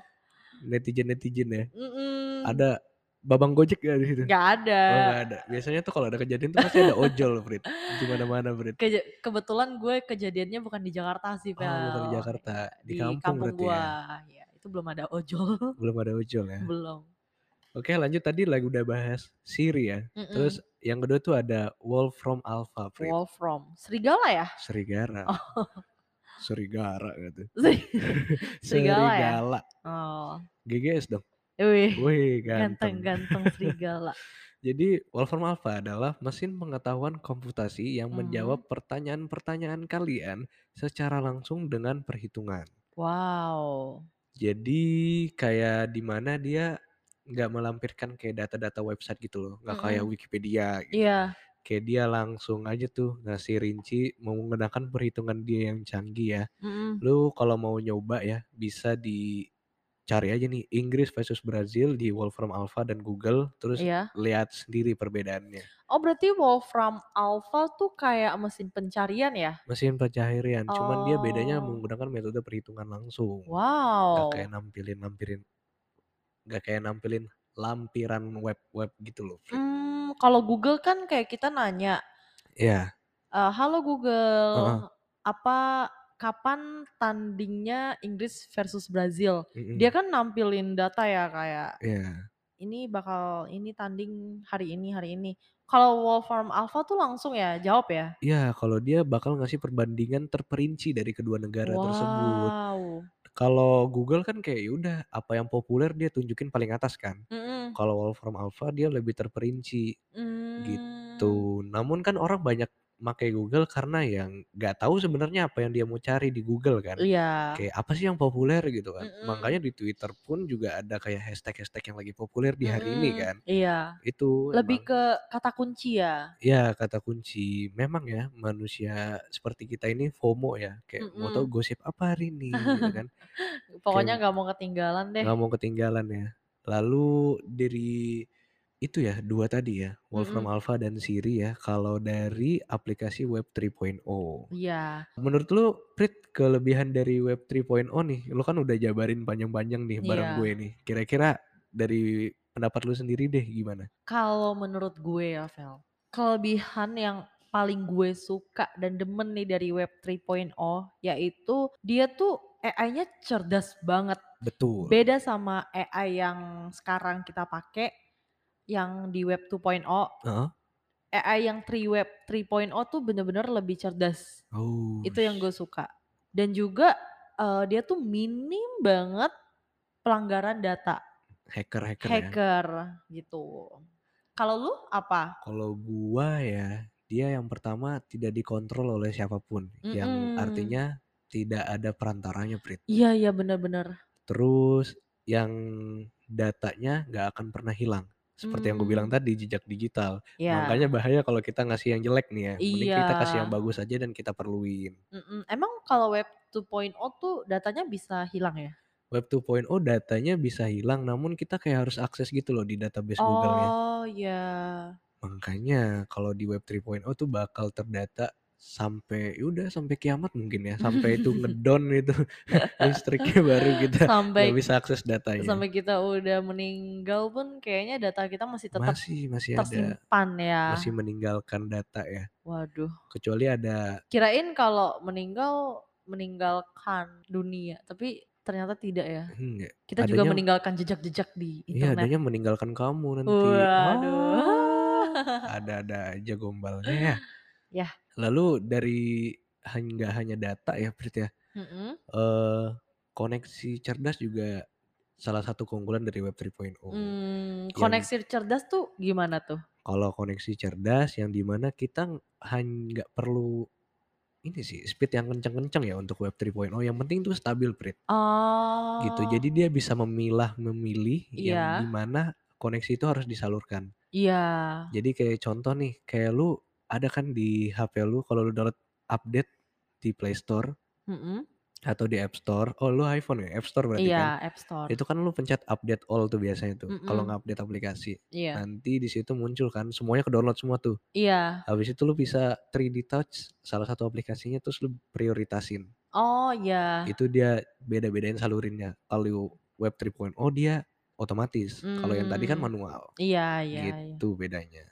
Speaker 2: netizen netizen ya
Speaker 1: Mm-mm.
Speaker 2: ada babang gojek gak di situ
Speaker 1: nggak ada
Speaker 2: oh nggak ada biasanya tuh kalau ada kejadian tuh pasti ada ojol Prit di mana mana Prit
Speaker 1: Keja- kebetulan gue kejadiannya bukan di Jakarta sih
Speaker 2: oh bukan di
Speaker 1: Vel
Speaker 2: Jakarta di
Speaker 1: di
Speaker 2: kampung
Speaker 1: kampung
Speaker 2: berarti
Speaker 1: gue
Speaker 2: ya Iya.
Speaker 1: ya itu belum ada ojol,
Speaker 2: belum ada ojol ya.
Speaker 1: belum.
Speaker 2: Oke lanjut tadi lagi udah bahas Siri ya.
Speaker 1: Mm-mm.
Speaker 2: Terus yang kedua tuh ada Wolf from Alpha, Fred.
Speaker 1: Wolfram, serigala ya?
Speaker 2: Serigara.
Speaker 1: Oh.
Speaker 2: Serigara gitu.
Speaker 1: Serigala ya?
Speaker 2: Serigala.
Speaker 1: Oh,
Speaker 2: GGS dong.
Speaker 1: wih,
Speaker 2: Wih, ganteng.
Speaker 1: ganteng-ganteng serigala.
Speaker 2: Jadi Wolfram Alpha adalah mesin pengetahuan komputasi yang
Speaker 1: Mhm.
Speaker 2: menjawab pertanyaan-pertanyaan kalian secara langsung dengan perhitungan.
Speaker 1: Wow,
Speaker 2: Jadi kayak di mana dia nggak melampirkan kayak data-data website gitu loh, nggak kayak
Speaker 1: Mm-mm.
Speaker 2: Wikipedia.
Speaker 1: Hmm.
Speaker 2: Gitu.
Speaker 1: iya,
Speaker 2: Kayak dia langsung aja tuh ngasih rinci menggunakan perhitungan dia yang canggih ya.
Speaker 1: Mm-mm.
Speaker 2: Lu kalau mau nyoba ya bisa di cari aja nih Inggris versus Brazil di Wolfram Alpha dan Google terus
Speaker 1: iya.
Speaker 2: lihat sendiri perbedaannya.
Speaker 1: Oh berarti Wolfram Alpha tuh kayak mesin pencarian ya?
Speaker 2: mesin pencaharian cuman dia bedanya
Speaker 1: Oh.
Speaker 2: menggunakan metode perhitungan langsung nggak
Speaker 1: Wow.
Speaker 2: kayak nampilin nampirin nggak kayak nampilin lampiran web web gitu loh Fred.
Speaker 1: Hmm, kalau Google kan kayak kita nanya,
Speaker 2: ya
Speaker 1: "Eh, halo Google,
Speaker 2: Heeh.
Speaker 1: apa kapan tandingnya Inggris versus Brazil?
Speaker 2: mm-mm,
Speaker 1: Dia kan nampilin data ya kayak
Speaker 2: ya
Speaker 1: ini bakal ini tanding hari ini hari ini. Kalau Wolfram Alpha tuh langsung ya jawab ya.
Speaker 2: ya kalau dia bakal ngasih perbandingan terperinci dari kedua negara tersebut
Speaker 1: Wow.
Speaker 2: kalau Google kan kayak udah apa yang populer dia tunjukin paling atas kan
Speaker 1: Mm-mm.
Speaker 2: kalau Wolfram Alpha dia lebih terperinci
Speaker 1: Mm.
Speaker 2: tuh
Speaker 1: Hmm.
Speaker 2: namun kan orang banyak pakai Google karena yang nggak tahu sebenarnya apa yang dia mau cari di Google kan
Speaker 1: Mm, Iya.
Speaker 2: kayak apa sih yang populer gitu kan.
Speaker 1: Mm-mm.
Speaker 2: Makanya di Twitter pun juga ada kayak hashtag-hashtag yang lagi populer di hari ini
Speaker 1: Mm-mm.
Speaker 2: kan.
Speaker 1: Iya.
Speaker 2: Itu
Speaker 1: Lebih
Speaker 2: emang
Speaker 1: ke kata kunci ya.
Speaker 2: ya kata kunci memang ya manusia seperti kita ini FOMO ya. Kayak mau tahu gosip apa hari ini gitu kan.
Speaker 1: Pokoknya nggak mau ketinggalan deh.
Speaker 2: Nggak mau ketinggalan ya. Lalu dari itu ya dua tadi ya, Wolfram Alpha dan Siri ya. Kalau dari aplikasi Web oh, 3.0.
Speaker 1: Iya.
Speaker 2: Menurut lu Prit kelebihan dari web 3.0 nih Lu kan udah jabarin panjang-panjang nih bareng
Speaker 1: Iya.
Speaker 2: gue nih Kira-kira dari pendapat lu sendiri deh gimana?
Speaker 1: Kalau menurut gue ya, Vel. Kelebihan yang paling gue suka dan demen nih dari web 3.0 yaitu dia tuh AI-nya cerdas banget.
Speaker 2: Betul
Speaker 1: Beda sama AI yang sekarang kita pakai yang di web 2.0,
Speaker 2: Heeh.
Speaker 1: AI yang 3 web 3.0 tuh bener-bener lebih cerdas.
Speaker 2: Oh,
Speaker 1: itu yang gue suka dan juga eh, dia tuh minim banget pelanggaran data
Speaker 2: Hacker-hacker ya
Speaker 1: hacker gitu kalau lu apa
Speaker 2: Kalau gua ya Dia yang pertama tidak dikontrol oleh siapapun Yang
Speaker 1: Mm-mm.
Speaker 2: artinya tidak ada perantaranya Prit
Speaker 1: iya iya benar-benar
Speaker 2: Terus yang datanya nggak akan pernah hilang seperti yang gue bilang
Speaker 1: Hmm.
Speaker 2: tadi jejak digital
Speaker 1: ya
Speaker 2: makanya bahaya kalau kita ngasih yang jelek nih ya mending kita kasih yang
Speaker 1: Iya.
Speaker 2: bagus aja dan kita perluin
Speaker 1: Mm-mm. emang kalau web 2.0 tuh datanya bisa hilang ya
Speaker 2: web 2.0 datanya bisa hilang namun kita kayak harus akses gitu loh di database Google-nya
Speaker 1: oh ya
Speaker 2: makanya kalau di web 3.0 tuh bakal terdata sampai ya udah sampai kiamat mungkin ya sampai itu ngedon itu listriknya baru kita
Speaker 1: sampai
Speaker 2: nggak bisa akses datanya
Speaker 1: sampai kita udah meninggal pun kayaknya data kita masih tetap
Speaker 2: masih masih ada
Speaker 1: tersimpan ya
Speaker 2: masih meninggalkan data ya
Speaker 1: waduh
Speaker 2: kecuali ada
Speaker 1: kirain kalau meninggal meninggalkan dunia tapi ternyata tidak ya
Speaker 2: enggak
Speaker 1: kita juga
Speaker 2: Adanya-
Speaker 1: meninggalkan jejak-jejak di
Speaker 2: iya
Speaker 1: internet
Speaker 2: hmm, adanya meninggalkan kamu nanti Oh.
Speaker 1: waduh
Speaker 2: ada-ada aja gombalnya ya
Speaker 1: Yah.
Speaker 2: lalu dari hingga hanya data ya Prit ya
Speaker 1: Mm-mm,
Speaker 2: eh koneksi cerdas juga salah satu keunggulan dari web oh. 3.0
Speaker 1: mm, koneksi cerdas tuh gimana tuh
Speaker 2: kalau koneksi cerdas yang dimana kita ng- han- nggak perlu ini sih speed yang kenceng-kenceng ya untuk web 3.0 yang penting tuh stabil Prit
Speaker 1: oh
Speaker 2: gitu jadi dia bisa memilah memilih yang
Speaker 1: Iya.
Speaker 2: dimana koneksi itu harus disalurkan
Speaker 1: iya
Speaker 2: Jadi kayak contoh nih, kayak lu ada kan di HP lu kalau lu download update di Play Store
Speaker 1: Mm-mm,
Speaker 2: atau di App Store. Oh, lu iPhone ya? App Store berarti
Speaker 1: iya
Speaker 2: kan.
Speaker 1: App Store
Speaker 2: Itu kan lu pencet update all tuh biasanya tuh. Kalau
Speaker 1: Mm-mm,
Speaker 2: nge-update aplikasi,
Speaker 1: iya
Speaker 2: nanti di situ muncul kan semuanya ke-download semua tuh.
Speaker 1: iya
Speaker 2: Habis itu lu bisa 3D touch salah satu aplikasinya terus lu prioritasin.
Speaker 1: oh iya
Speaker 2: Itu dia beda-bedain salurinnya. Kalau web 3.0 dia otomatis. Kalau yang tadi kan
Speaker 1: Mm,
Speaker 2: manual.
Speaker 1: iya iya iya.
Speaker 2: Gitu bedanya.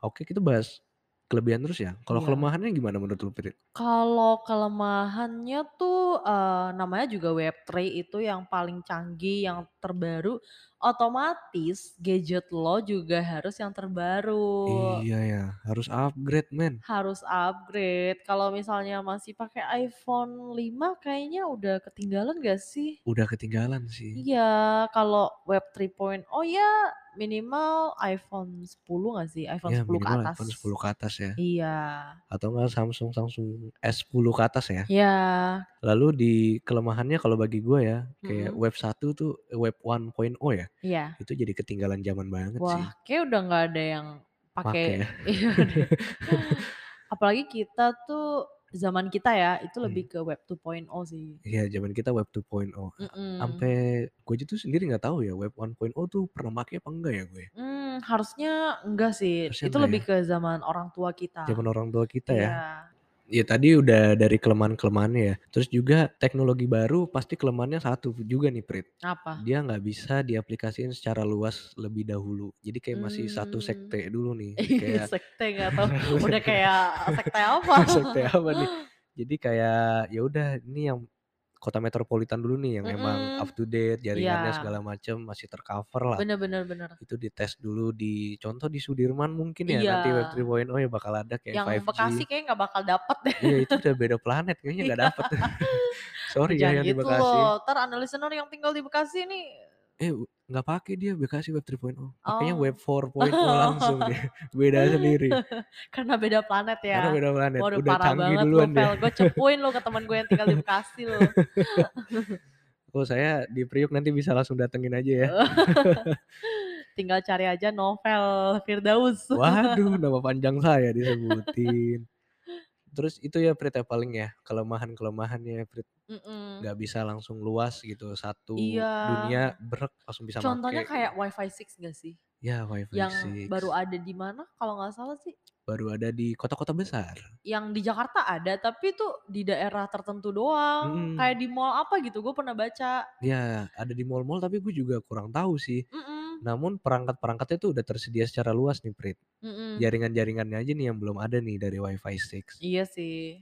Speaker 2: Oke, Gitu kita bahas kelebihan terus ya. Kalau
Speaker 1: Iya.
Speaker 2: kelemahannya gimana menurut lu, Prit?
Speaker 1: Kalau kelemahannya tuh eh, namanya juga Web3 itu yang paling canggih, yang terbaru, otomatis gadget lo juga harus yang terbaru.
Speaker 2: Iya ya, harus upgrade, men.
Speaker 1: Harus upgrade. Kalau misalnya masih pakai iPhone 5 kayaknya udah ketinggalan gak sih?
Speaker 2: Udah ketinggalan sih.
Speaker 1: Iya, kalau web 3.0 ya minimal iPhone 10 gak sih? iPhone 10
Speaker 2: Ya
Speaker 1: ke
Speaker 2: minimal
Speaker 1: atas.
Speaker 2: iPhone 10 ke atas ya.
Speaker 1: Iya.
Speaker 2: Atau enggak Samsung Samsung S10 ke atas ya.
Speaker 1: Ya,
Speaker 2: Lalu di kelemahannya kalau bagi gua ya, kayak
Speaker 1: Mm-mm.
Speaker 2: web 1 tuh eh, web 1.0 ya.
Speaker 1: iya.
Speaker 2: Itu jadi ketinggalan zaman banget sih.
Speaker 1: Wah, kayak udah nggak ada yang
Speaker 2: Pakai
Speaker 1: pakai.
Speaker 2: ya.
Speaker 1: Iya deh. Apalagi kita tuh zaman kita ya, itu
Speaker 2: Hmm.
Speaker 1: lebih ke web 2.0 sih.
Speaker 2: Iya, zaman kita web 2.0.
Speaker 1: Hmm.
Speaker 2: Sampai
Speaker 1: Mm-mm.
Speaker 2: gue aja tuh sendiri nggak tahu ya web 1.0 tuh pernah pakai apa enggak ya gue.
Speaker 1: Hmm, harusnya enggak sih.
Speaker 2: Harusnya
Speaker 1: Itu
Speaker 2: enggak
Speaker 1: lebih
Speaker 2: ya.
Speaker 1: ke zaman orang tua kita.
Speaker 2: Zaman orang tua kita ya.
Speaker 1: Iya.
Speaker 2: Ya tadi udah dari kelemahan-kelemahannya ya. Terus juga teknologi baru pasti kelemahannya satu juga nih Prit.
Speaker 1: Apa?
Speaker 2: Dia nggak bisa diaplikasiin secara luas lebih dahulu. Jadi kayak masih satu
Speaker 1: Hmm.
Speaker 2: sekte dulu nih.
Speaker 1: Ih,
Speaker 2: Kayak
Speaker 1: sekte nggak tahu. Udah kayak sekte apa?
Speaker 2: sekte apa nih? Jadi kayak ya udah ini yang kota metropolitan dulu nih yang emang
Speaker 1: Mm-mm.
Speaker 2: up to date jaringannya
Speaker 1: Iya.
Speaker 2: segala macam masih tercover lah.
Speaker 1: Bener bener bener.
Speaker 2: Itu dites dulu di contoh di Sudirman mungkin ya nanti web
Speaker 1: Iya.
Speaker 2: 3.0 ya bakal ada kayak
Speaker 1: Yang
Speaker 2: 5G.
Speaker 1: Bekasi kayaknya nggak bakal dapet deh.
Speaker 2: Iya itu udah beda planet kayaknya nggak
Speaker 1: Iya.
Speaker 2: dapet. Sorry ya
Speaker 1: Jangan
Speaker 2: yang di
Speaker 1: gitu
Speaker 2: Bekasi.
Speaker 1: loh. Ntar ada listener yang tinggal di Bekasi nih.
Speaker 2: Eh u- nggak pakai dia Bekasi web 3.0. Pakainya web
Speaker 1: Oh.
Speaker 2: 4.0 langsung dia. Beda sendiri.
Speaker 1: Karena beda planet ya.
Speaker 2: Karena beda planet.
Speaker 1: Waduh
Speaker 2: Udah
Speaker 1: parah
Speaker 2: canggih
Speaker 1: banget lu
Speaker 2: duluan ya. dia.
Speaker 1: Pel. Gue cepuin lu ke teman gue yang tinggal di Bekasi lo.
Speaker 2: Oh saya di Priuk nanti bisa langsung datengin aja ya.
Speaker 1: tinggal cari aja novel Firdaus.
Speaker 2: Waduh nama panjang saya disebutin. Terus itu ya Prit ya paling ya kelemahan-kelemahannya Prit
Speaker 1: Mm-mm.
Speaker 2: nggak bisa langsung luas gitu satu
Speaker 1: Hmm. Iya.
Speaker 2: dunia berek langsung bisa
Speaker 1: Contohnya
Speaker 2: make.
Speaker 1: kayak WiFi 6 gak sih?
Speaker 2: ya WiFi
Speaker 1: Yang
Speaker 2: 6
Speaker 1: baru ada di mana kalau nggak salah sih.
Speaker 2: baru ada di kota-kota besar.
Speaker 1: Yang di Jakarta ada tapi itu di daerah tertentu doang.
Speaker 2: Mm-mm.
Speaker 1: Oh, Kayak di mall apa gitu gue pernah baca.
Speaker 2: Ya, ada di mall-mall tapi gue juga kurang tahu sih.
Speaker 1: Mm-mm.
Speaker 2: Namun perangkat-perangkatnya tuh udah tersedia secara luas nih, Prit. Iya.
Speaker 1: Mm-mm.
Speaker 2: Jaringan-jaringannya aja nih yang belum ada nih dari WiFi 6.
Speaker 1: Iya sih.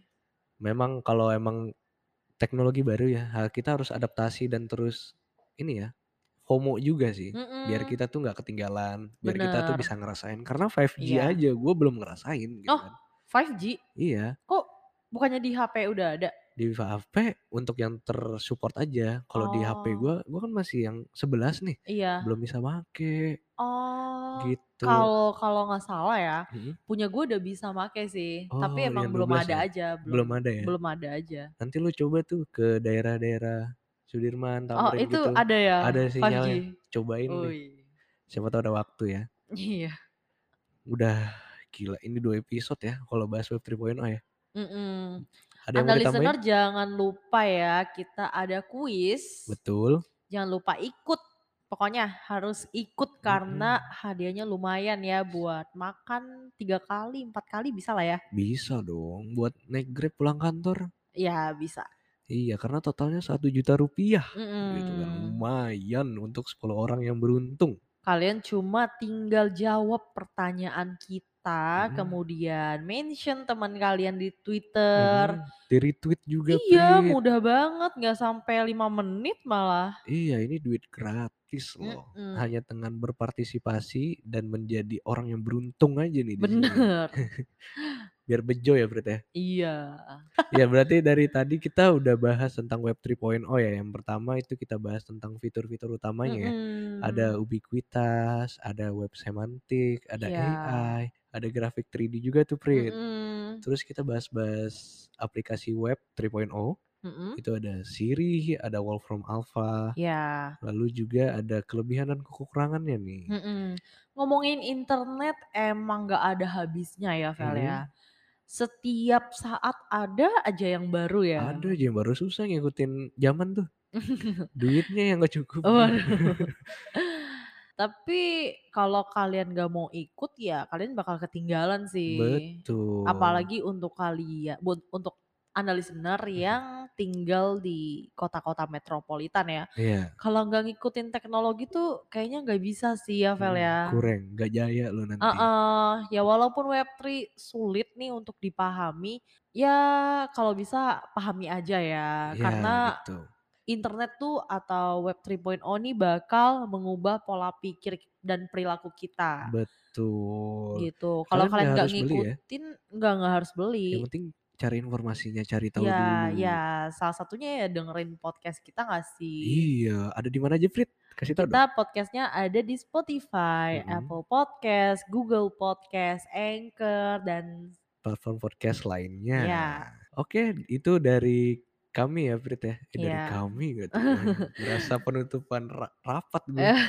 Speaker 2: Memang kalau emang teknologi baru ya, hal kita harus adaptasi dan terus ini ya, FOMO juga sih. Biar
Speaker 1: Mm-mm.
Speaker 2: kita tuh nggak ketinggalan, biar kita
Speaker 1: Hmm.
Speaker 2: tuh
Speaker 1: Bener.
Speaker 2: bisa ngerasain. Karena 5G
Speaker 1: Iya.
Speaker 2: aja gue belum ngerasain gitu
Speaker 1: Oh,
Speaker 2: kan.
Speaker 1: 5G?
Speaker 2: Iya,
Speaker 1: Kok bukannya di HP udah ada?
Speaker 2: di HP untuk yang tersupport aja. Kalau di
Speaker 1: Oh,
Speaker 2: HP gue, gue kan masih yang 11 nih,
Speaker 1: iya.
Speaker 2: belum bisa make
Speaker 1: Oh,
Speaker 2: gitu.
Speaker 1: kalau kalau nggak salah ya,
Speaker 2: Mm.
Speaker 1: punya gue udah bisa make sih. Tapi
Speaker 2: Oh,
Speaker 1: emang
Speaker 2: yang
Speaker 1: belum ada
Speaker 2: 12 ya?
Speaker 1: aja, belum
Speaker 2: Belum ada ya?
Speaker 1: belum ada aja.
Speaker 2: Nanti lu coba tuh ke daerah-daerah Sudirman,
Speaker 1: Oh, itu Oh,
Speaker 2: Tamrin
Speaker 1: iya.
Speaker 2: gitu.
Speaker 1: ada ya
Speaker 2: Ada
Speaker 1: 5G.
Speaker 2: sinyalnya. Cobain deh.
Speaker 1: Ui.
Speaker 2: Siapa tahu ada waktu ya.
Speaker 1: Iya.
Speaker 2: Udah gila ini dua episode ya kalau bahas web 3.0 ya.
Speaker 1: Mm-mm.
Speaker 2: Ada
Speaker 1: Anda
Speaker 2: yang mau ditambahin?
Speaker 1: listener jangan lupa ya, kita ada kuis.
Speaker 2: Betul.
Speaker 1: Jangan lupa ikut. Pokoknya harus ikut karena
Speaker 2: Mm-mm.
Speaker 1: hadiahnya lumayan ya buat makan tiga kali, empat kali bisa lah ya.
Speaker 2: Bisa dong buat naik Grab pulang kantor.
Speaker 1: Ya bisa.
Speaker 2: Iya, karena totalnya satu juta rupiah. Gitu kan
Speaker 1: Mm-mm.
Speaker 2: lumayan untuk 10 orang yang beruntung.
Speaker 1: Kalian cuma tinggal jawab pertanyaan kita,
Speaker 2: Mm-mm.
Speaker 1: kemudian mention teman kalian di Twitter.
Speaker 2: Mm-mm. Mhm. Di retweet juga,
Speaker 1: Iya,
Speaker 2: Prit.
Speaker 1: mudah banget, nggak sampai lima menit malah.
Speaker 2: Iya, ini duit gratis
Speaker 1: Iya,
Speaker 2: loh.
Speaker 1: Mm-mm,
Speaker 2: Hanya dengan berpartisipasi dan menjadi orang yang beruntung aja nih di sini. ya.
Speaker 1: Bener,
Speaker 2: Biar bejo ya Brit ya.
Speaker 1: iya.
Speaker 2: Ya berarti dari tadi kita udah bahas tentang web 3.0 ya. Yang pertama itu kita bahas tentang fitur-fitur utamanya ya. Ada
Speaker 1: Mm-mm,
Speaker 2: ubiquitas, ada web semantik, ada
Speaker 1: Iya,
Speaker 2: AI, ada grafik 3D juga tuh Prit.
Speaker 1: Mm-mm,
Speaker 2: Terus kita bahas-bahas aplikasi web 3.0.
Speaker 1: mm-mm,
Speaker 2: Itu ada Siri, ada Wolfram Alpha,
Speaker 1: Ya,
Speaker 2: lalu juga ada kelebihan dan kekurangannya nih.
Speaker 1: mm-mm. hmm. Ngomongin internet emang nggak ada habisnya ya, Vel ya.
Speaker 2: Mm-mm.
Speaker 1: Setiap saat ada aja yang baru ya.
Speaker 2: Ada aja yang baru susah ngikutin zaman tuh. Duitnya yang gak cukup.
Speaker 1: Waduh. Tapi kalau kalian gak mau ikut ya kalian bakal ketinggalan sih.
Speaker 2: Betul.
Speaker 1: Apalagi untuk kalian, buat- untuk anda listener
Speaker 2: Mhm.
Speaker 1: yang tinggal di kota-kota metropolitan ya.
Speaker 2: Iya.
Speaker 1: Kalau nggak ngikutin teknologi tuh kayaknya nggak bisa sih ya Vel
Speaker 2: Hmm,
Speaker 1: ya.
Speaker 2: Kurang, nggak jaya lu nanti.
Speaker 1: Heeh, ya walaupun Web3 sulit nih untuk dipahami, ya kalau bisa pahami aja ya.
Speaker 2: Iya,
Speaker 1: Karena
Speaker 2: gitu.
Speaker 1: internet tuh atau Web 3.0 nih bakal mengubah pola pikir dan perilaku kita.
Speaker 2: Betul.
Speaker 1: Gitu. Kalau kalian
Speaker 2: Kalian nggak
Speaker 1: nggak
Speaker 2: harus beli ya?
Speaker 1: ngikutin, nggak nggak harus beli.
Speaker 2: Yang penting cari informasinya, cari tahu
Speaker 1: Ya,
Speaker 2: dulu.
Speaker 1: ya salah satunya ya dengerin podcast kita nggak sih?
Speaker 2: Iya, ada di mana aja Frit? Kasih tahu dong.
Speaker 1: Kita podcastnya ada di Spotify,
Speaker 2: Mm-mm.
Speaker 1: Apple Podcast, Google Podcast, Anchor, dan
Speaker 2: Platform podcast lainnya.
Speaker 1: Iya.
Speaker 2: Oke, itu dari kami ya Frit ya. Eh, dari
Speaker 1: Iya.
Speaker 2: kami gitu. Merasa penutupan ra- rapat gue.
Speaker 1: Eh.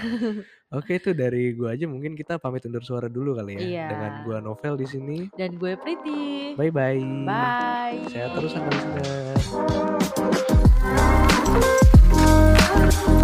Speaker 2: Oke, itu dari gue aja mungkin kita pamit undur suara dulu kali ya
Speaker 1: Iya.
Speaker 2: dengan gua Novel di sini.
Speaker 1: dan gue Priti.
Speaker 2: Bye bye.
Speaker 1: Bye.
Speaker 2: Sehat terus sama listener.